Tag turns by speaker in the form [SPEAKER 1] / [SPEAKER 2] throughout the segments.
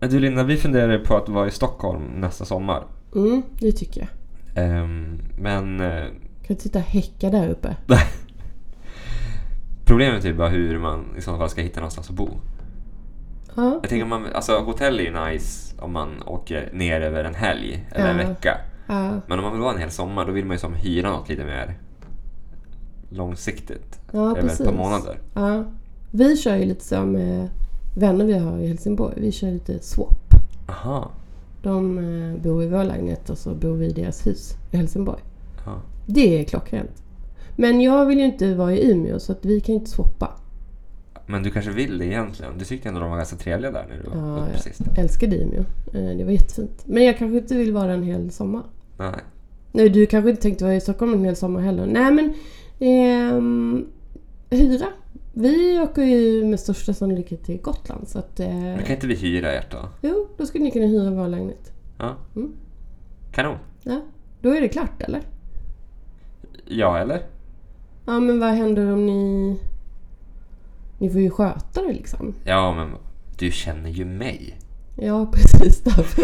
[SPEAKER 1] Men Du Linda, vi funderar på att vara i Stockholm nästa sommar.
[SPEAKER 2] Mm, det tycker jag.
[SPEAKER 1] Ehm, men eh,
[SPEAKER 2] Kan du titta häcka där uppe?
[SPEAKER 1] problemet är ju bara hur man i så fall ska hitta någonstans att bo.
[SPEAKER 2] Ja.
[SPEAKER 1] Jag tänker om man, alltså hotell är ju nice om man åker ner över en helg eller en
[SPEAKER 2] Ja.
[SPEAKER 1] vecka.
[SPEAKER 2] Ja.
[SPEAKER 1] Men om man vill vara en hel sommar då vill man ju som hyra något lite mer långsiktigt.
[SPEAKER 2] Ja,
[SPEAKER 1] över ett
[SPEAKER 2] precis.
[SPEAKER 1] par månader.
[SPEAKER 2] ja. Vi kör ju lite som eh, vänner vi har i Helsingborg. Vi kör lite swap.
[SPEAKER 1] Aha.
[SPEAKER 2] De eh, bor i vår lägenhet och så bor vi i deras hus i Helsingborg.
[SPEAKER 1] Ja.
[SPEAKER 2] Det är klockrent. Men jag vill ju inte vara i Umeå så att vi kan ju inte swappa.
[SPEAKER 1] Men du kanske vill det egentligen? Du tyckte ändå de var ganska trevliga där när du var
[SPEAKER 2] Ja,
[SPEAKER 1] uppe
[SPEAKER 2] ja.
[SPEAKER 1] sist.
[SPEAKER 2] Älskade Umeå. Eh, Det var jättefint. Men jag kanske inte vill vara en hel sommar.
[SPEAKER 1] Nej.
[SPEAKER 2] Nej, du kanske inte tänkte vara i Stockholm en hel sommar heller. Nej, men ehm, hyra. Vi åker ju med största sannolikhet till Gotland. Så att, eh,
[SPEAKER 1] Men kan inte vi hyra ert då?
[SPEAKER 2] Jo, då skulle ni kunna hyra vår lägenhet.
[SPEAKER 1] Ja.
[SPEAKER 2] Mm.
[SPEAKER 1] Kanon.
[SPEAKER 2] Ja, då är det klart, eller?
[SPEAKER 1] Ja, eller?
[SPEAKER 2] Ja, men vad händer om ni... Ni får ju sköta det liksom.
[SPEAKER 1] Ja, men du känner ju mig.
[SPEAKER 2] Ja, precis. Därför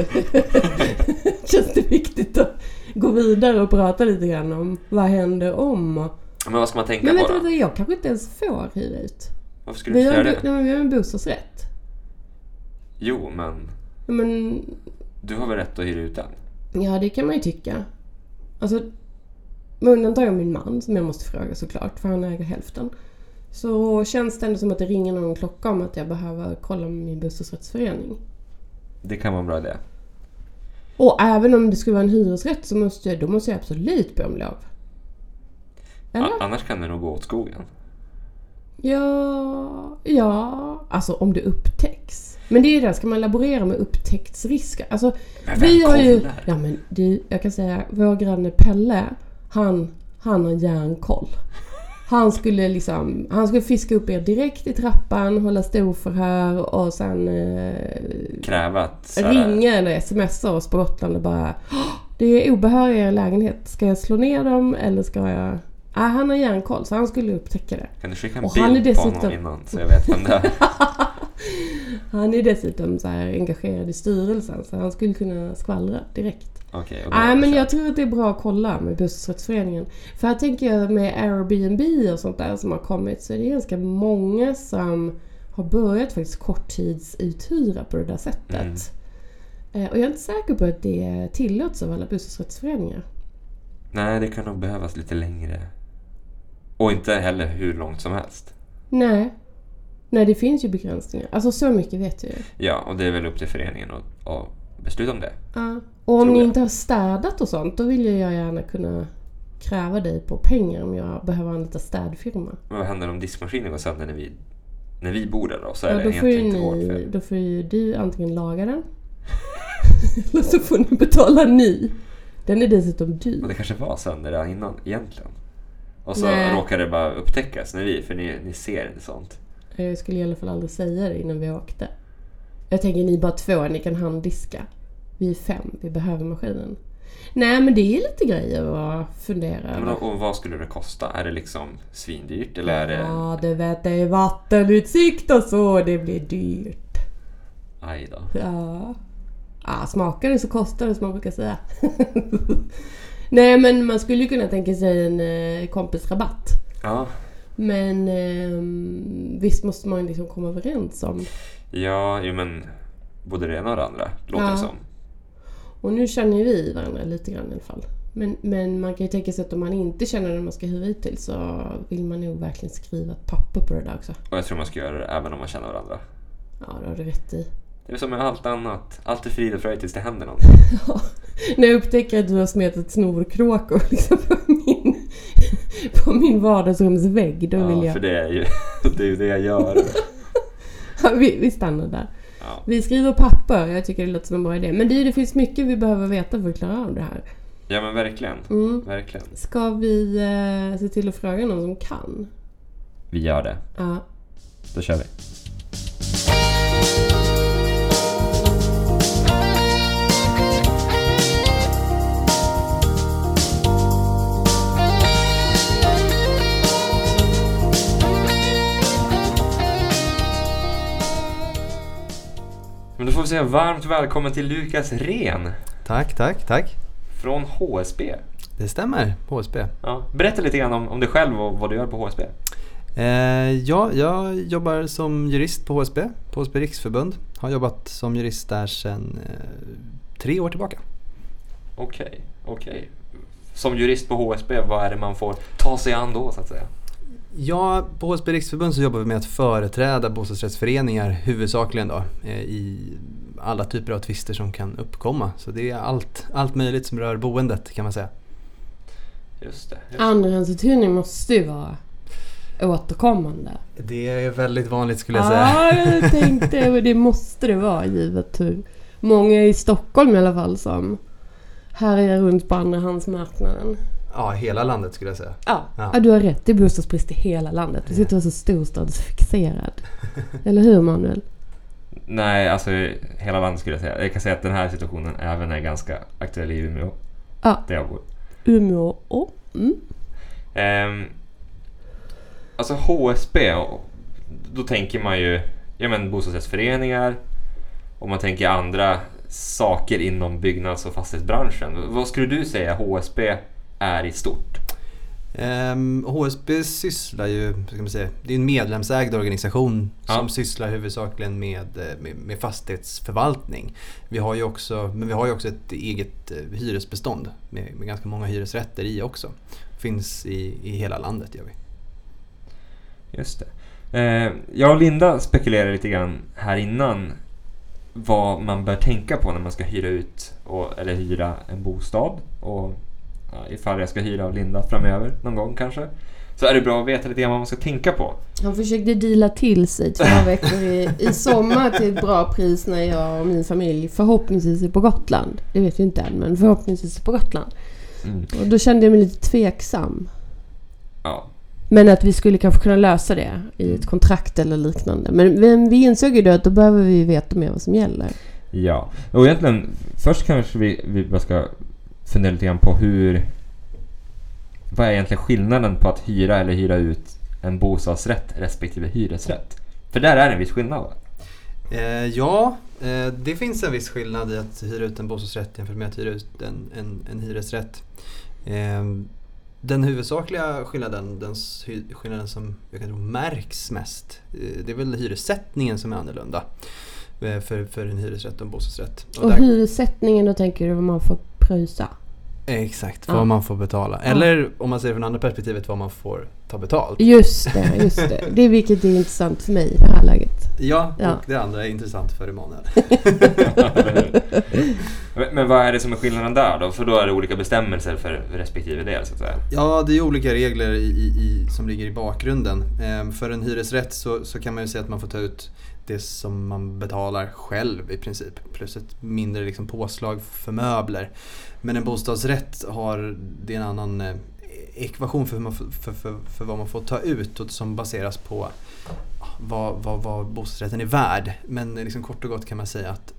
[SPEAKER 2] känns det viktigt att gå vidare och prata lite grann om vad händer om. och-
[SPEAKER 1] Men vad ska man tänka
[SPEAKER 2] Men
[SPEAKER 1] på
[SPEAKER 2] vänta,
[SPEAKER 1] då?
[SPEAKER 2] vänta, jag kanske inte ens får hyra ut.
[SPEAKER 1] Varför skulle du
[SPEAKER 2] Vi
[SPEAKER 1] inte
[SPEAKER 2] har,
[SPEAKER 1] göra
[SPEAKER 2] en bo-
[SPEAKER 1] det?
[SPEAKER 2] nej, men vi har en bostadsrätt.
[SPEAKER 1] Jo, men
[SPEAKER 2] Ja, Men
[SPEAKER 1] du har väl rätt att hyra ut den?
[SPEAKER 2] ja, det kan man ju tycka. Alltså, med undantag av min man som jag måste fråga såklart, för han äger hälften. Så känns det ändå som att det ringer någon klocka om att jag behöver kolla med min bostadsrättsförening.
[SPEAKER 1] Det kan vara en bra idé.
[SPEAKER 2] Och även om det skulle vara en hyresrätt så måste jag, då måste jag absolut be om lov. Eller?
[SPEAKER 1] A- annars kan det nog gå åt skogen.
[SPEAKER 2] Ja, ja, alltså om det upptäcks. Men det är ju det, ska man laborera med upptäcktsrisker? Alltså,
[SPEAKER 1] Men vem
[SPEAKER 2] vi har ju...
[SPEAKER 1] kollar?
[SPEAKER 2] Ja men du, jag kan säga, vår granne Pelle, han, han har järnkoll. Han skulle liksom, han skulle fiska upp er direkt i trappan, hålla storförhör och sen eh,
[SPEAKER 1] Kräva att... så här-
[SPEAKER 2] ringa eller smsa oss på Gotland och bara "Åh, Det är obehöriga i er lägenhet. Ska jag slå ner dem eller ska jag... Nej, han har järnkoll så han skulle upptäcka det.
[SPEAKER 1] Kan du skicka en
[SPEAKER 2] Och han är
[SPEAKER 1] bild på
[SPEAKER 2] dessutom-
[SPEAKER 1] honom innan så jag vet vem det är?
[SPEAKER 2] Han är dessutom så här engagerad i styrelsen så han skulle kunna skvallra direkt.
[SPEAKER 1] Okej, och då
[SPEAKER 2] Nej
[SPEAKER 1] är det
[SPEAKER 2] men
[SPEAKER 1] kört.
[SPEAKER 2] jag tror att det är bra att kolla med bostadsrättsföreningen. För här tänker jag med Airbnb och sånt där som har kommit så är det ganska många som har börjat faktiskt korttidsuthyrda på det där
[SPEAKER 1] Mm.
[SPEAKER 2] sättet. Eh, Och jag är inte säker på att det tillåts av alla bostadsrättsföreningar.
[SPEAKER 1] Nej, det kan nog behövas lite längre. Och inte heller hur långt som helst.
[SPEAKER 2] Nej. Nej det finns ju begränsningar. Alltså så mycket vet jag ju.
[SPEAKER 1] Ja, och det är väl upp till föreningen att, att besluta om det.
[SPEAKER 2] Ja. Och om
[SPEAKER 1] Tror
[SPEAKER 2] ni
[SPEAKER 1] jag.
[SPEAKER 2] inte har städat och sånt då vill ju jag gärna kunna kräva dig på pengar om jag behöver anlita städfirma.
[SPEAKER 1] Men vad händer om diskmaskinen går sönder när vi, när vi bor där då? Så är
[SPEAKER 2] Ja,
[SPEAKER 1] det
[SPEAKER 2] då får, ju
[SPEAKER 1] egentligen inte vårt
[SPEAKER 2] ni,
[SPEAKER 1] fel.
[SPEAKER 2] då får ju du antingen laga den eller så får ni betala ny. Den är dessutom
[SPEAKER 1] Men
[SPEAKER 2] dyr.
[SPEAKER 1] det kanske var sönder redan innan egentligen. Och så
[SPEAKER 2] Nej.
[SPEAKER 1] råkar det bara upptäckas när vi, för ni, ni ser inte sånt.
[SPEAKER 2] Jag skulle i alla fall aldrig säga det innan vi åkte. Jag tänker ni är bara två, ni kan handdiska. Vi är fem, vi behöver maskinen. Nej men det är lite grejer att fundera
[SPEAKER 1] Men,
[SPEAKER 2] över.
[SPEAKER 1] och, och vad skulle det kosta? Är det liksom svindyrt eller är det...
[SPEAKER 2] Ja du vet det är vattenutsikt och så, det blir dyrt.
[SPEAKER 1] Aj då.
[SPEAKER 2] typ. Ja. Ah, smakar det så kostar det som man brukar säga. Nej men man skulle ju kunna tänka sig en eh, kompisrabatt.
[SPEAKER 1] Ja,
[SPEAKER 2] Men ehm, visst måste man ju liksom komma överens om.
[SPEAKER 1] ja jo, men både det ena och det andra låter
[SPEAKER 2] Ja.
[SPEAKER 1] det som.
[SPEAKER 2] Och nu känner ju vi varandra lite grann i alla fall. Men, men man kan ju tänka sig att om man inte känner den man ska hyra ut till så vill man nog verkligen skriva ett papper på det där också.
[SPEAKER 1] Och jag tror man ska göra det även om man känner varandra.
[SPEAKER 2] Ja, det har du rätt i.
[SPEAKER 1] Det är som med allt annat. Allt är frid och fröjd tills det händer någonting.
[SPEAKER 2] När jag upptäcker att du har smetat snorkråkor liksom på min, på min vardagsrumsvägg, då vill
[SPEAKER 1] Ja,
[SPEAKER 2] jag...
[SPEAKER 1] för det är ju det, är ju det jag gör.
[SPEAKER 2] Ja, vi, vi stannar där.
[SPEAKER 1] Ja.
[SPEAKER 2] Vi skriver papper, jag tycker det låter som en bra idé. Men det, det finns mycket vi behöver veta för att klara av det här.
[SPEAKER 1] ja, men verkligen.
[SPEAKER 2] Mm.
[SPEAKER 1] Verkligen.
[SPEAKER 2] Ska vi eh, se till att fråga någon som kan?
[SPEAKER 1] Vi gör det.
[SPEAKER 2] Ja.
[SPEAKER 1] Då kör vi. Men då får vi säga varmt välkommen till Lukas Ren
[SPEAKER 3] Tack, tack, tack.
[SPEAKER 1] från HSB.
[SPEAKER 3] Det stämmer, HSB.
[SPEAKER 1] Ja. Berätta lite grann om, om dig själv och vad du gör på HSB.
[SPEAKER 3] Eh, ja, jag jobbar som jurist på HSB, på HSB Riksförbund. Har jobbat som jurist där sedan eh, tre år tillbaka.
[SPEAKER 1] Okej, okej. Som jurist på HSB, vad är det man får ta sig an då så att säga?
[SPEAKER 3] Ja, på HSB Riksförbund så jobbar vi med att företräda bostadsrättsföreningar huvudsakligen då, eh, i alla typer av tvister som kan uppkomma. Så det är allt, allt möjligt som rör boendet kan man säga.
[SPEAKER 1] Just det. Just. det.
[SPEAKER 2] Andrahandsuthyrning måste ju vara återkommande.
[SPEAKER 3] Det är väldigt vanligt skulle jag säga.
[SPEAKER 2] Ja, jag tänkte och det måste det vara givet hur många i Stockholm i alla fall som härjar runt på andrahandsmarknaden.
[SPEAKER 3] Ja, hela landet skulle jag säga.
[SPEAKER 2] Ja.
[SPEAKER 3] Ja.
[SPEAKER 2] ja, du har rätt. Det är bostadsbrist i hela landet. Du sitter och är så storstadsfixerad. Eller hur Manuel?
[SPEAKER 1] Nej, alltså hela landet skulle jag säga. Jag kan säga att den här situationen även är ganska aktuell i Umeå.
[SPEAKER 2] Ja.
[SPEAKER 1] Där jag bor.
[SPEAKER 2] Umeå och... Mm.
[SPEAKER 1] Ehm, alltså HSB, och- då tänker man ju ja, men bostadsrättsföreningar och man tänker andra saker inom byggnads och fastighetsbranschen. V- Vad skulle du säga HSB är i stort?
[SPEAKER 3] Ehm, HSB sysslar ju, vad ska man säga, det är en medlemsägd organisation
[SPEAKER 1] Ja.
[SPEAKER 3] som sysslar huvudsakligen med, eh, med, med fastighetsförvaltning. Vi har ju också, men vi har ju också ett eget eh, hyresbestånd med, med ganska många hyresrätter i också. Finns i, i hela landet gör vi.
[SPEAKER 1] Just det. Ehm, jag och Linda spekulerade lite grann här innan vad man bör tänka på när man ska hyra ut och, eller hyra en bostad. Och ja, ifall jag ska hyra av Linda framöver någon gång kanske. Så är det bra att veta lite grann vad man ska tänka på.
[SPEAKER 2] Han försökte deala till sig två veckor i, i sommar till ett bra pris när jag och min familj förhoppningsvis är på Gotland. Det vet vi inte än, men förhoppningsvis är på Gotland. Och då kände jag mig lite tveksam.
[SPEAKER 1] Ja,
[SPEAKER 2] Men att vi skulle kanske kunna lösa det i ett kontrakt eller liknande. Men, men vi insåg ju då att då behöver vi veta mer vad som gäller.
[SPEAKER 1] Ja, och egentligen först kanske vi, vi bara ska fundera lite grann på hur... Vad är egentligen skillnaden på att hyra eller hyra ut en bostadsrätt respektive hyresrätt? För där är en viss skillnad va?
[SPEAKER 3] Eh, ja, eh, det finns en viss skillnad i att hyra ut en bostadsrätt jämfört med att hyra ut en, en, en hyresrätt. Eh, den huvudsakliga skillnaden, den s- hy- skillnaden som jag kan tro märks mest, eh, det är väl hyressättningen som är annorlunda eh, för, för en hyresrätt och en bostadsrätt. Och
[SPEAKER 2] Och
[SPEAKER 3] där-
[SPEAKER 2] hyressättningen, då tänker du vad man får pröjsa.
[SPEAKER 3] Exakt,
[SPEAKER 2] Ja.
[SPEAKER 3] vad man får betala. Eller om man ser det från andra perspektivet, vad man får ta betalt.
[SPEAKER 2] Just det, just det. Det är vilket är intressant för mig i det här läget.
[SPEAKER 3] Ja,
[SPEAKER 2] Ja.
[SPEAKER 3] och det andra är intressant för Emanuel.
[SPEAKER 1] Men- Men vad är det som är skillnaden där då? För då är det olika bestämmelser för respektive del så att säga.
[SPEAKER 3] Ja, det är olika regler i, i, i, som ligger i bakgrunden. Ehm, för en hyresrätt så, så kan man ju säga att man får ta ut det som man betalar själv i princip. Plus ett mindre liksom, påslag för möbler. Men en bostadsrätt har, det är en annan eh, ekvation för, hur man, f- för, för, för vad man får ta ut och som baseras på ja, vad, vad, vad bostadsrätten är värd. Men eh, liksom, kort och gott kan man säga att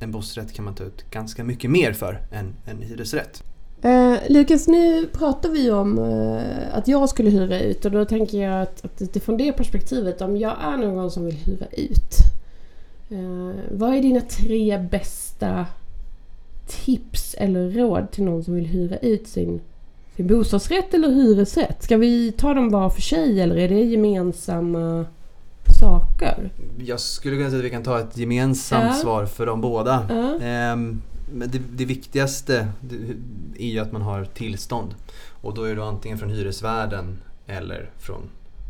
[SPEAKER 3] en bostadsrätt kan man ta ut ganska mycket mer för än en hyresrätt.
[SPEAKER 2] Eh, Lukas, nu pratar vi om eh, att jag skulle hyra ut och då tänker jag att, att utifrån det perspektivet, om jag är någon som vill hyra ut. Eh, vad är dina tre bästa tips eller råd till någon som vill hyra ut sin, sin bostadsrätt eller hyresrätt? Ska vi ta dem var för sig eller är det gemensamma saker?
[SPEAKER 3] Jag skulle kunna säga att vi kan ta ett gemensamt
[SPEAKER 2] Ja.
[SPEAKER 3] svar för de båda.
[SPEAKER 2] Ja.
[SPEAKER 3] Ehm, men det, det viktigaste det- är ju att man har tillstånd. Och då är det antingen från hyresvärden eller från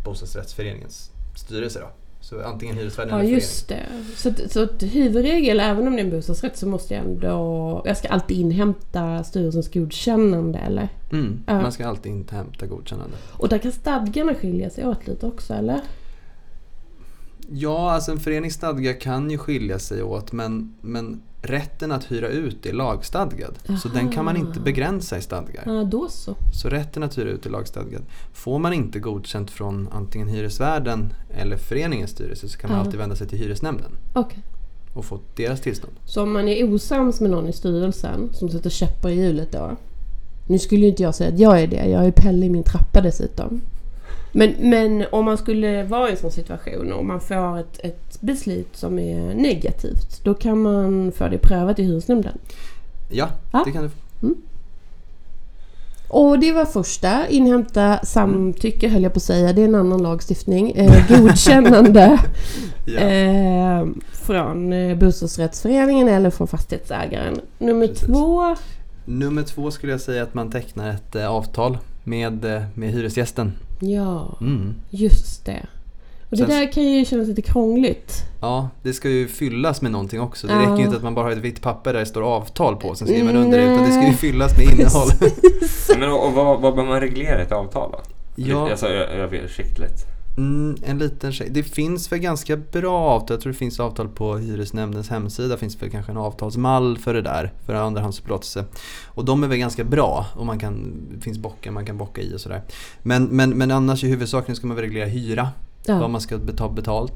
[SPEAKER 3] bostadsrättsföreningens styrelse. Då. Så antingen hyresvärden
[SPEAKER 2] Ja
[SPEAKER 3] eller
[SPEAKER 2] just det. Så, att- så att huvudregel, även om det är en bostadsrätt så måste jag ändå... Jag ska alltid inhämta styrelsens godkännande eller?
[SPEAKER 3] föreningen. Mm.
[SPEAKER 2] Ja.
[SPEAKER 3] Man ska alltid inhämta godkännande.
[SPEAKER 2] Och där kan stadgarna skilja sig åt lite också eller?
[SPEAKER 3] Ja, alltså en förenings stadga kan ju skilja sig åt men, men rätten att hyra ut är lagstadgad. Så den kan man inte
[SPEAKER 2] Aha.
[SPEAKER 3] begränsa i stadgar.
[SPEAKER 2] Ja då så.
[SPEAKER 3] Så rätten att hyra ut är lagstadgad. Får man inte godkänt från antingen hyresvärden eller föreningens styrelse så kan man
[SPEAKER 2] Ja.
[SPEAKER 3] alltid vända sig till hyresnämnden
[SPEAKER 2] Okej.
[SPEAKER 3] och få deras tillstånd.
[SPEAKER 2] Så om man är osams med någon i styrelsen som sätter käppar i hjulet då? Nu skulle ju inte jag säga att jag är det. Jag är Pelle i min trappa dessutom. Men, men om man skulle vara i en sån situation och man får ett, ett beslut som är negativt, då kan man få det prövat i hyresnämnden.
[SPEAKER 3] Ja,
[SPEAKER 2] Ja.
[SPEAKER 3] det kan du få.
[SPEAKER 2] Och det var första, inhämta samtycke höll jag på att säga, det är en annan lagstiftning. Eh, godkännande
[SPEAKER 3] Ja.
[SPEAKER 2] eh, från eh, bostadsrättsföreningen eller från fastighetsägaren. Nummer
[SPEAKER 3] Precis.
[SPEAKER 2] två,
[SPEAKER 3] Nummer två skulle jag säga att man tecknar ett eh, avtal med, eh, med hyresgästen.
[SPEAKER 2] ja
[SPEAKER 3] Mm.
[SPEAKER 2] just det. Och det
[SPEAKER 3] Sen-
[SPEAKER 2] där kan ju kännas lite krångligt.
[SPEAKER 3] Ja, det ska ju fyllas med någonting också. Det
[SPEAKER 2] Ja.
[SPEAKER 3] räcker ju inte att man bara har ett vitt papper där det står avtal på sen skriver man under det. Utan det ska ju
[SPEAKER 2] Nej.
[SPEAKER 3] fyllas med innehåll.
[SPEAKER 1] Men, och, och vad, vad bör man reglera ett avtal då?
[SPEAKER 3] ja,
[SPEAKER 1] Alltså ö- översiktligt.
[SPEAKER 3] mm, en liten tjej. Det finns väl ganska bra avtal. Jag tror det finns avtal på hyresnämndens hemsida. finns väl kanske en avtalsmall för det där. För andrahandsupplåtelse. Och de är väl ganska bra. Och man kan, det finns bockar man kan bocka i och sådär. Men, men, men annars i huvudsaken ska man väl reglera hyra. vad
[SPEAKER 2] Ja.
[SPEAKER 3] man ska ta betalt.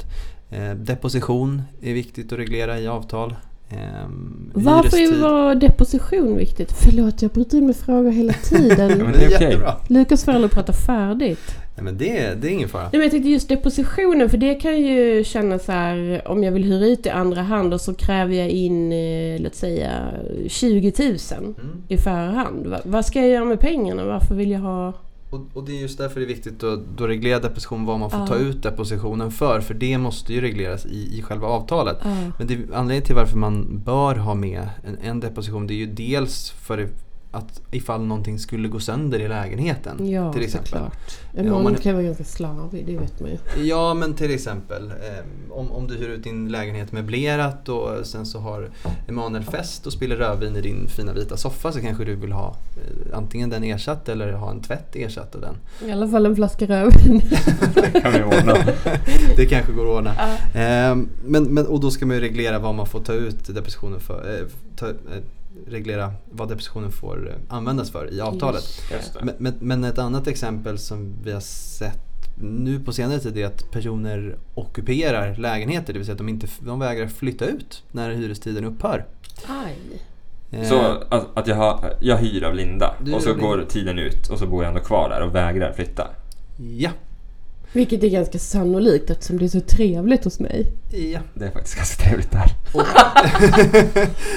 [SPEAKER 3] Eh, deposition är viktigt att reglera i avtal. Eh,
[SPEAKER 2] Varför
[SPEAKER 3] hyrestid.
[SPEAKER 2] var deposition viktigt? Förlåt, jag bryter in med frågor hela
[SPEAKER 1] Ja,
[SPEAKER 2] tiden.
[SPEAKER 1] men det är okej.
[SPEAKER 3] Jättebra.
[SPEAKER 2] Lukas får aldrig prata färdigt.
[SPEAKER 3] Nej, men det, det är ingen fara.
[SPEAKER 2] Nej, men jag tänkte just depositionen, för det kan ju kännas så här om jag vill hyra ut i andra hand och så kräver jag in, eh, låt säga, 20 000
[SPEAKER 3] Mm.
[SPEAKER 2] i förhand. Va, vad ska jag göra med pengarna? Varför vill jag ha...
[SPEAKER 3] Och, och det är just därför det är viktigt att då reglera deposition vad man får
[SPEAKER 2] Ja.
[SPEAKER 3] ta ut depositionen för. För det måste ju regleras i, i själva avtalet.
[SPEAKER 2] Ah.
[SPEAKER 3] Men det, anledningen till varför man bör ha med en, en deposition det är ju dels för det- att ifall någonting skulle gå sönder i lägenheten.
[SPEAKER 2] Ja,
[SPEAKER 3] till exempel.
[SPEAKER 2] såklart.
[SPEAKER 3] Ja,
[SPEAKER 2] En
[SPEAKER 3] om man-
[SPEAKER 2] man kan vara ganska slarvig, det vet man ju.
[SPEAKER 3] Ja men till exempel eh, om, om du hyr ut din lägenhet möblerat och sen så har Emanuel fest och spiller rödvin i din fina vita soffa så kanske du vill ha eh, antingen den ersatt eller ha en tvätt ersatt av den.
[SPEAKER 2] I alla fall en flaska rödvin.
[SPEAKER 1] Det kan vi ordna.
[SPEAKER 3] Det kanske går att ordna.
[SPEAKER 2] Ja.
[SPEAKER 3] Eh, men, men, och då ska man ju reglera vad man får ta ut depositionen för. Eh, ta, eh, reglera vad depositionen får eh, användas för i avtalet.
[SPEAKER 1] Just det.
[SPEAKER 3] Men, men, men ett annat exempel som vi har sett nu på senare tid är att personer ockuperar lägenheter. Det vill säga att de, inte, de vägrar flytta ut när hyrestiden upphör.
[SPEAKER 2] Aj.
[SPEAKER 3] Eh,
[SPEAKER 1] Så att, att jag, har, jag hyr av Linda
[SPEAKER 3] Du
[SPEAKER 1] och så
[SPEAKER 3] hyr av Linda.
[SPEAKER 1] går tiden ut och så bor jag ändå kvar där och vägrar flytta.
[SPEAKER 3] Ja,
[SPEAKER 2] Vilket är ganska sannolikt eftersom det är så trevligt hos mig.
[SPEAKER 3] ja.
[SPEAKER 1] Det är faktiskt ganska trevligt där.
[SPEAKER 3] Och, Nej,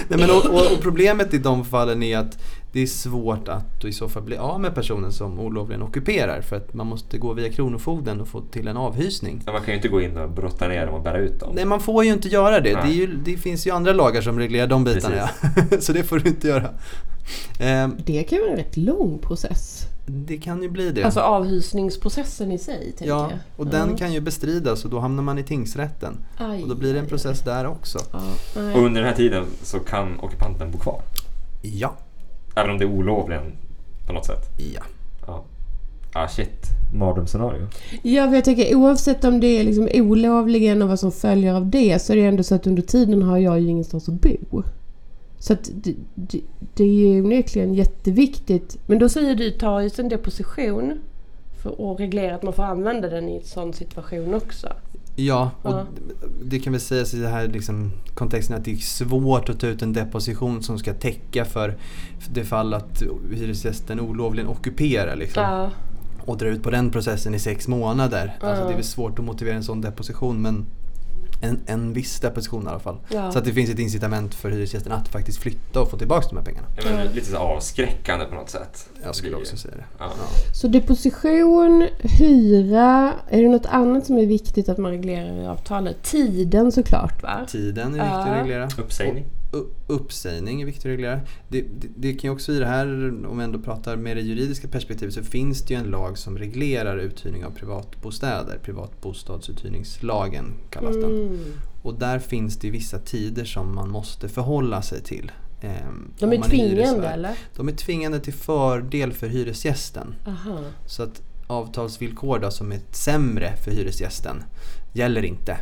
[SPEAKER 3] men och, och, och problemet i de fallen är att det är svårt att då i så fall bli av med personen som olovligen ockuperar. För att man måste gå via Kronofogden och få till en avhysning.
[SPEAKER 1] Men Man kan ju inte gå in och brotta ner dem och bära ut dem.
[SPEAKER 3] Nej, man får ju inte göra det.
[SPEAKER 1] Nej.
[SPEAKER 3] Det, är ju, det finns ju andra lagar som reglerar de bitarna. Ja. Så det får du inte göra. Ehm,
[SPEAKER 2] Det kan ju vara en rätt lång process.
[SPEAKER 3] Det kan ju bli det.
[SPEAKER 2] Alltså avhysningsprocessen i sig, tänker
[SPEAKER 3] ja,
[SPEAKER 2] jag. Mm.
[SPEAKER 3] och den
[SPEAKER 2] Ja.
[SPEAKER 3] kan ju bestridas och då hamnar man i tingsrätten.
[SPEAKER 2] Aj.
[SPEAKER 3] Och då blir det en process där också.
[SPEAKER 2] Ja, nej.
[SPEAKER 1] Och under den här tiden så kan ockupanten bo kvar.
[SPEAKER 3] Ja.
[SPEAKER 1] Även om det är olovligen på något sätt.
[SPEAKER 3] Ja.
[SPEAKER 1] Ja. Ah shit. Mardrömsscenario.
[SPEAKER 2] Ja, för jag tänker oavsett om det är liksom olovligen och vad som följer av det så är det ändå så att under tiden har jag ju ingenstans att bo. Så att det, det, det är ju onekligen jätteviktigt. Men då säger du, ta just en deposition för att reglera att man får använda den i en sån situation också.
[SPEAKER 3] Ja, och
[SPEAKER 2] Ja.
[SPEAKER 3] d- det kan väl sägas i den här liksom kontexten att det är svårt att ta ut en deposition som ska täcka för det fall att hyresgästen olovligen ockuperar. Liksom.
[SPEAKER 2] Ja.
[SPEAKER 3] Och dra ut på den processen i sex månader. Alltså,
[SPEAKER 2] Ja.
[SPEAKER 3] det är väl svårt att motivera en sån deposition men en, en viss deposition i alla fall.
[SPEAKER 2] Ja.
[SPEAKER 3] Så att det finns ett incitament för hyresgästen att faktiskt flytta och få tillbaka de här pengarna.
[SPEAKER 1] Ja, men Lite så avskräckande på något sätt.
[SPEAKER 3] Jag skulle
[SPEAKER 1] Det-
[SPEAKER 3] också säga det.
[SPEAKER 1] Ja.
[SPEAKER 2] Så deposition, hyra, är det något annat som är viktigt att man reglerar i avtalet? Tiden såklart va?
[SPEAKER 3] Tiden är viktig
[SPEAKER 2] Ja.
[SPEAKER 3] att reglera.
[SPEAKER 1] Uppsägning.
[SPEAKER 3] U- uppsägning är viktigt att reglera. Det, det, det kan ju också i det här, om vi ändå pratar med det juridiska perspektivet, så finns det ju en lag som reglerar uthyrning av privatbostäder. Privatbostadsuthyrningslagen kallas den.
[SPEAKER 2] Mm.
[SPEAKER 3] Och där finns det ju vissa tider som man måste förhålla sig till. ehm, om
[SPEAKER 2] De är
[SPEAKER 3] man hyresvärd.
[SPEAKER 2] tvingande eller?
[SPEAKER 3] De är tvingande till fördel för hyresgästen.
[SPEAKER 2] Aha.
[SPEAKER 3] Så att avtalsvillkor då, som är sämre för hyresgästen gäller inte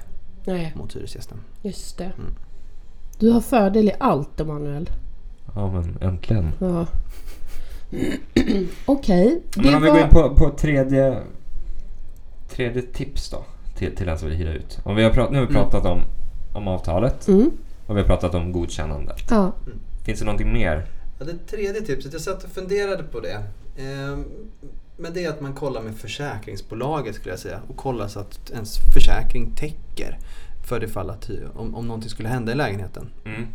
[SPEAKER 2] Nej,
[SPEAKER 3] mot hyresgästen.
[SPEAKER 2] just det.
[SPEAKER 3] Mm.
[SPEAKER 2] Du har fördel i allt Emanuel.
[SPEAKER 1] Ja men äntligen.
[SPEAKER 2] Ja. Okej,
[SPEAKER 1] Men
[SPEAKER 2] det
[SPEAKER 1] om vi går
[SPEAKER 2] var...
[SPEAKER 1] in på, på tredje, tredje tips då. Till, till den som vill hyra ut. Om vi har prat, nu har vi
[SPEAKER 3] Mm.
[SPEAKER 1] pratat om, om avtalet
[SPEAKER 2] Mm.
[SPEAKER 1] och vi har pratat om godkännande.
[SPEAKER 2] Ja.
[SPEAKER 1] Finns det någonting mer?
[SPEAKER 3] Ja, det tredje tipset, jag satt och funderade på det. Ehm, Men det är att man kollar med försäkringsbolaget skulle jag säga och kollar så att ens försäkring täcker för det fall att hy- om, om någonting skulle hända i lägenheten.
[SPEAKER 1] Mm.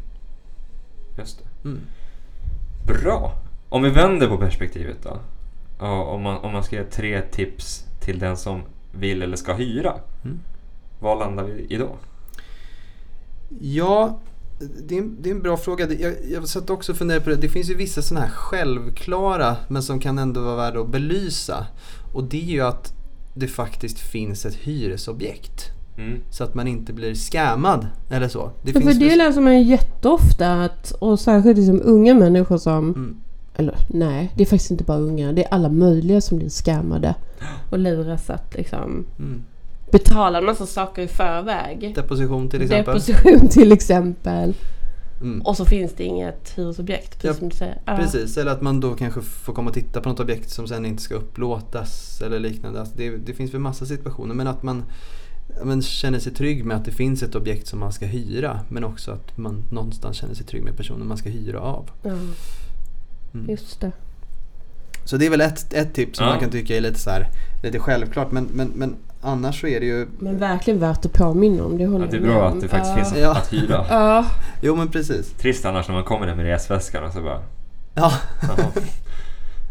[SPEAKER 1] Just det.
[SPEAKER 3] Mm.
[SPEAKER 1] Bra! Om vi vänder på perspektivet då. Ja, om, man, om man ska ge tre tips till den som vill eller ska hyra.
[SPEAKER 3] Mm.
[SPEAKER 1] Vad landar vi i då?
[SPEAKER 3] Ja, det är, en, det är en bra fråga. Det- Jag, jag satt också och funderade på det. Det finns ju vissa sådana här självklara men som kan ändå vara värda att belysa. Och det är ju att det faktiskt finns ett hyresobjekt.
[SPEAKER 1] Mm.
[SPEAKER 3] Så att man inte blir scammad eller så. Det
[SPEAKER 2] Ja, för
[SPEAKER 3] finns
[SPEAKER 2] det
[SPEAKER 3] väl-
[SPEAKER 2] läser man ju jätteofta att, och särskilt liksom unga människor som
[SPEAKER 3] Mm.
[SPEAKER 2] Eller nej, det är faktiskt inte bara unga. Det är alla möjliga som blir skammade och luras att liksom
[SPEAKER 3] Mm.
[SPEAKER 2] betala en massa saker i förväg.
[SPEAKER 3] Deposition till exempel.
[SPEAKER 2] Deposition till exempel.
[SPEAKER 3] Mm.
[SPEAKER 2] Och så finns det inget hyresobjekt, precis
[SPEAKER 3] Ja,
[SPEAKER 2] som du säger. Ja.
[SPEAKER 3] Precis, eller att man då kanske får komma och titta på något objekt som sen inte ska upplåtas eller liknande. Alltså det, det finns väl massa situationer men att man, ja, men känner sig trygg med att det finns ett objekt som man ska hyra men också att man någonstans känner sig trygg med personen man ska hyra av.
[SPEAKER 2] Ja,
[SPEAKER 3] Mm.
[SPEAKER 2] just det.
[SPEAKER 3] Så det är väl ett, ett tips som
[SPEAKER 1] Ja.
[SPEAKER 3] man kan tycka är lite, så här, lite självklart men, men, men annars så är det ju
[SPEAKER 2] Men verkligen värt att påminna om. Det håller
[SPEAKER 1] Ja, det är
[SPEAKER 2] jag med
[SPEAKER 1] bra
[SPEAKER 2] om.
[SPEAKER 1] att det faktiskt
[SPEAKER 2] ja.
[SPEAKER 1] finns
[SPEAKER 3] Ja.
[SPEAKER 1] att hyra.
[SPEAKER 2] Ja,
[SPEAKER 3] Jo men precis.
[SPEAKER 1] Trist annars när man kommer där med resväskan och så bara...
[SPEAKER 3] Ja.
[SPEAKER 1] Jaha,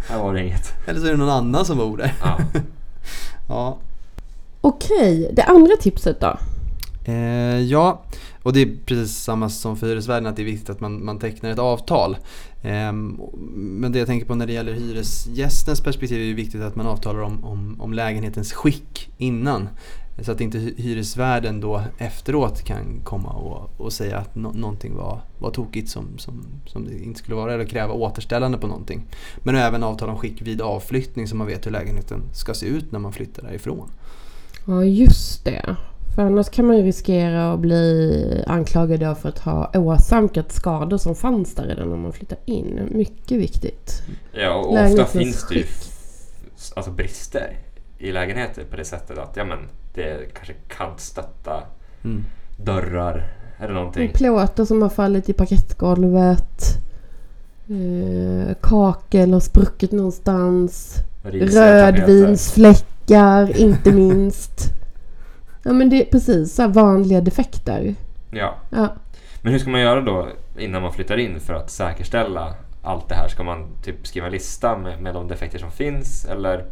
[SPEAKER 1] här var det inget.
[SPEAKER 3] Eller så är det någon annan som bor där.
[SPEAKER 1] Ja.
[SPEAKER 3] Ja.
[SPEAKER 2] okej. Det andra tipset då?
[SPEAKER 3] Eh, ja, och det är precis samma som för hyresvärden att det är viktigt att man, man tecknar ett avtal. Ehm, men det jag tänker på när det gäller hyresgästens perspektiv är ju viktigt att man avtalar om, om, om lägenhetens skick innan. Så att inte hy- hyresvärden då efteråt kan komma och, och säga att nå- någonting var, var tokigt som, som, som det inte skulle vara eller kräva återställande på någonting. Men även avtal om skick vid avflyttning så man vet hur lägenheten ska se ut när man flyttar därifrån.
[SPEAKER 2] Ja, just det. För annars kan man ju riskera att bli anklagad då för att ha åsamkat skador som fanns där redan när man flyttar in. Mycket viktigt.
[SPEAKER 1] Ja, och ofta
[SPEAKER 2] Lägenhetens
[SPEAKER 1] finns det ju
[SPEAKER 2] skick.
[SPEAKER 1] f- alltså brister i lägenheter på det sättet att ja, men, det kanske kantstötta
[SPEAKER 3] Mm.
[SPEAKER 1] dörrar eller någonting.
[SPEAKER 2] Plåtar som har fallit i parkettgolvet. Eh, kakel har spruckit någonstans.
[SPEAKER 1] Risiga tapeter.
[SPEAKER 2] Rödvinsfläckar, inte minst. Ja men det är precis så här vanliga defekter.
[SPEAKER 1] Ja.
[SPEAKER 2] Ja.
[SPEAKER 1] Men hur ska man göra då innan man flyttar in för att säkerställa allt det här? Ska man typ skriva en lista med, med de defekter som finns? Eller?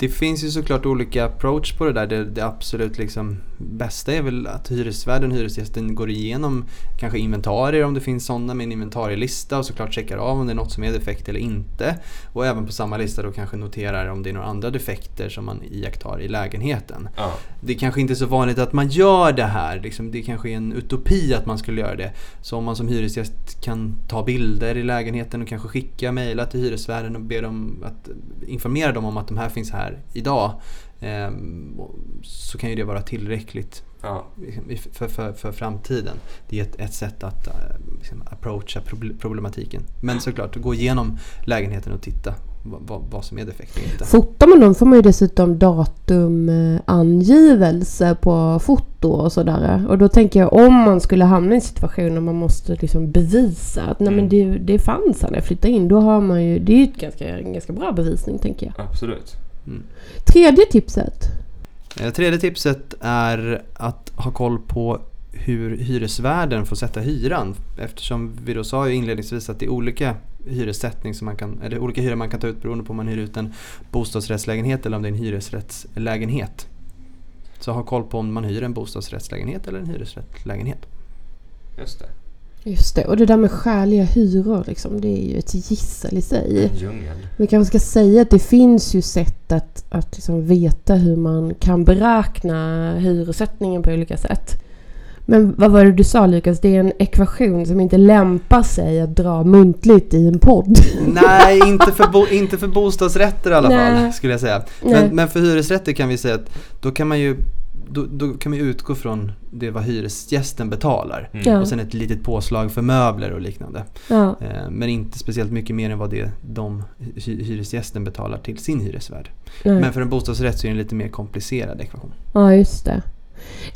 [SPEAKER 3] Det finns ju såklart olika approach på det där. Det, det absolut liksom bästa är väl att hyresvärden, hyresgästen går igenom kanske inventarier om det finns sådana med en inventarielista och såklart checkar av om det är något som är defekt eller inte. Och även på samma lista då kanske noterar om det är några andra defekter som man iakttar i lägenheten.
[SPEAKER 1] Ja.
[SPEAKER 3] Det är kanske inte är så vanligt att man gör det här. Liksom, det kanske är en utopi att man skulle göra det. Så om man som hyresgäst kan ta bilder i lägenheten och kanske skicka mejla till hyresvärden och be dem att informera dem om att de här finns här idag. ehm, och Så kan ju det vara tillräckligt
[SPEAKER 1] Ja.
[SPEAKER 3] liksom, i- för, för, för framtiden. Det är ett, ett sätt att eh, liksom, approacha proble- problematiken. Men såklart, gå igenom lägenheten och titta vad, vad, vad som är defekt och inte.
[SPEAKER 2] Fotar man dem får man ju dessutom datumangivelse på foto och sådär. Och då tänker jag om man skulle hamna i en situation där man måste liksom bevisa att nej men
[SPEAKER 1] Mm.
[SPEAKER 2] det, det fanns här när jag flyttade in. Då har man ju, det är ju ett ganska, en ganska bra bevisning tänker jag.
[SPEAKER 1] Absolut.
[SPEAKER 2] Tredje tipset.
[SPEAKER 3] Eh, Tredje tipset är att ha koll på hur hyresvärden får sätta hyran. Eftersom vi då sa ju inledningsvis att det är olika hyressättning som man kan, eller olika hyror man kan ta ut beroende på om man hyr ut en bostadsrättslägenhet eller om det är en hyresrättslägenhet. Så ha koll på om man hyr en bostadsrättslägenhet eller en hyresrättslägenhet.
[SPEAKER 1] Just det.
[SPEAKER 2] Just det, och det där med skäliga hyror liksom, det är ju ett gissel i sig.
[SPEAKER 1] En djungel.
[SPEAKER 2] Vi kanske ska säga att det finns ju sätt att, att liksom veta hur man kan beräkna hyressättningen på olika sätt. Men vad var det du sa Lukas? Det är en ekvation som inte lämpar sig att dra muntligt i en podd.
[SPEAKER 3] Nej, inte för, bo, inte för bostadsrätter i alla fall
[SPEAKER 2] Nej.
[SPEAKER 3] skulle jag säga.
[SPEAKER 2] Nej.
[SPEAKER 3] Men, men för hyresrätter kan vi säga att då kan man ju då, då kan man ju utgå från det vad hyresgästen betalar.
[SPEAKER 1] Mm.
[SPEAKER 2] Ja.
[SPEAKER 3] Och sen ett litet påslag för möbler och liknande.
[SPEAKER 2] Ja,
[SPEAKER 3] Eh, Men inte speciellt mycket mer än vad det de hy- hyresgästen betalar till sin hyresvärd.
[SPEAKER 2] nej.
[SPEAKER 3] Men för en bostadsrätt så är det en lite mer komplicerad ekvation.
[SPEAKER 2] ja, just det.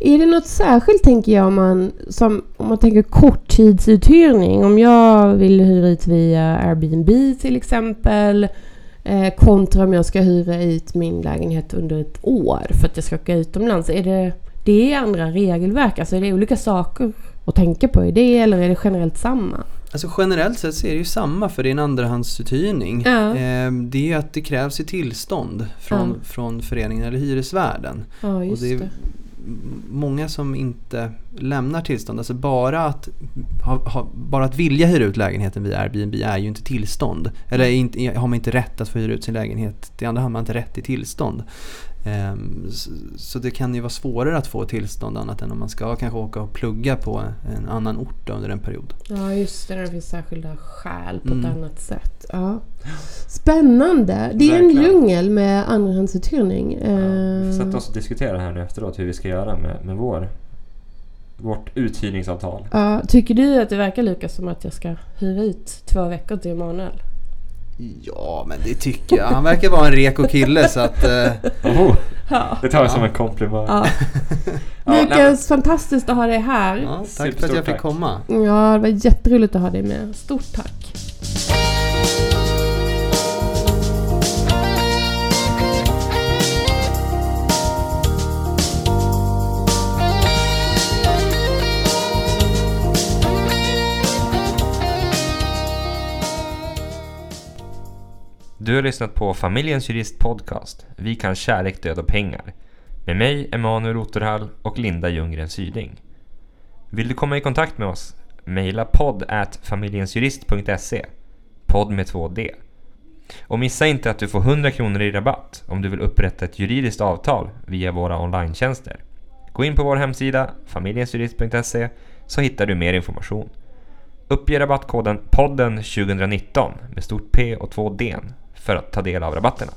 [SPEAKER 2] Är det något särskilt tänker jag om man, som, om man tänker korttidsuthyrning? Om jag vill hyra ut via Airbnb till exempel. Eh, kontra om jag ska hyra ut min lägenhet under ett år för att jag ska åka utomlands. Är det, det är andra regelverk, alltså är det olika saker att tänka på i det eller är det generellt samma?
[SPEAKER 3] Alltså generellt sett så är det ju samma för din andrahandsuthyrning.
[SPEAKER 2] Ja.
[SPEAKER 3] Eh, Det är att det krävs ju tillstånd från,
[SPEAKER 2] Ja.
[SPEAKER 3] från föreningen eller hyresvärden.
[SPEAKER 2] Ja, just
[SPEAKER 3] och det är
[SPEAKER 2] det.
[SPEAKER 3] m- många som inte lämnar tillstånd. Alltså bara att, ha, ha, bara att vilja hyra ut lägenheten via Airbnb är ju inte tillstånd. Eller är inte, har man inte rätt att få hyra ut sin lägenhet till andra har man inte rätt till tillstånd. Ehm, s- Så det kan ju vara svårare att få tillstånd annat än om man ska kanske åka och plugga på en annan ort då under en period.
[SPEAKER 2] Ja, just det. När det finns särskilda skäl på ett
[SPEAKER 3] Mm.
[SPEAKER 2] annat sätt. Ja. Spännande! Det är en
[SPEAKER 1] Verkligen.
[SPEAKER 2] djungel med andrahandsuthyrning.
[SPEAKER 1] Ja,
[SPEAKER 2] Eh,
[SPEAKER 1] vi får sätta oss och diskutera här nu efteråt hur vi ska göra med, med vår, vårt uthyrningsavtal.
[SPEAKER 2] ja, tycker du att det verkar Lukas som att jag ska hyra ut två veckor till Emanuel?
[SPEAKER 3] Ja, men det tycker jag. Han verkar vara en reko kille så att... Eh,
[SPEAKER 1] Oho,
[SPEAKER 2] Ja.
[SPEAKER 1] det tar jag som en komplimang.
[SPEAKER 2] Ja.
[SPEAKER 1] nej, men-
[SPEAKER 2] Lukas, fantastiskt att ha dig här.
[SPEAKER 3] ja, tack för
[SPEAKER 1] Superstort
[SPEAKER 3] att jag fick
[SPEAKER 1] tack.
[SPEAKER 3] komma.
[SPEAKER 2] Ja, det var jätteroligt att ha dig med. Stort tack!
[SPEAKER 1] Du har lyssnat på Familjens Jurist Podcast. Vi kan kärlek, död och pengar. Med mig, Emanuel Otterhall och Linda Ljunggren Syding. Vill du komma i kontakt med oss? Mejla podd at familjensjurist.se. Podd med två d Och missa inte att du får 100 kronor i rabatt om du vill upprätta ett juridiskt avtal via våra online-tjänster. Gå in på vår hemsida, familjensjurist.se, så hittar du mer information. Uppge rabattkoden podden 2019 med stort P och två D för att ta del av rabatterna.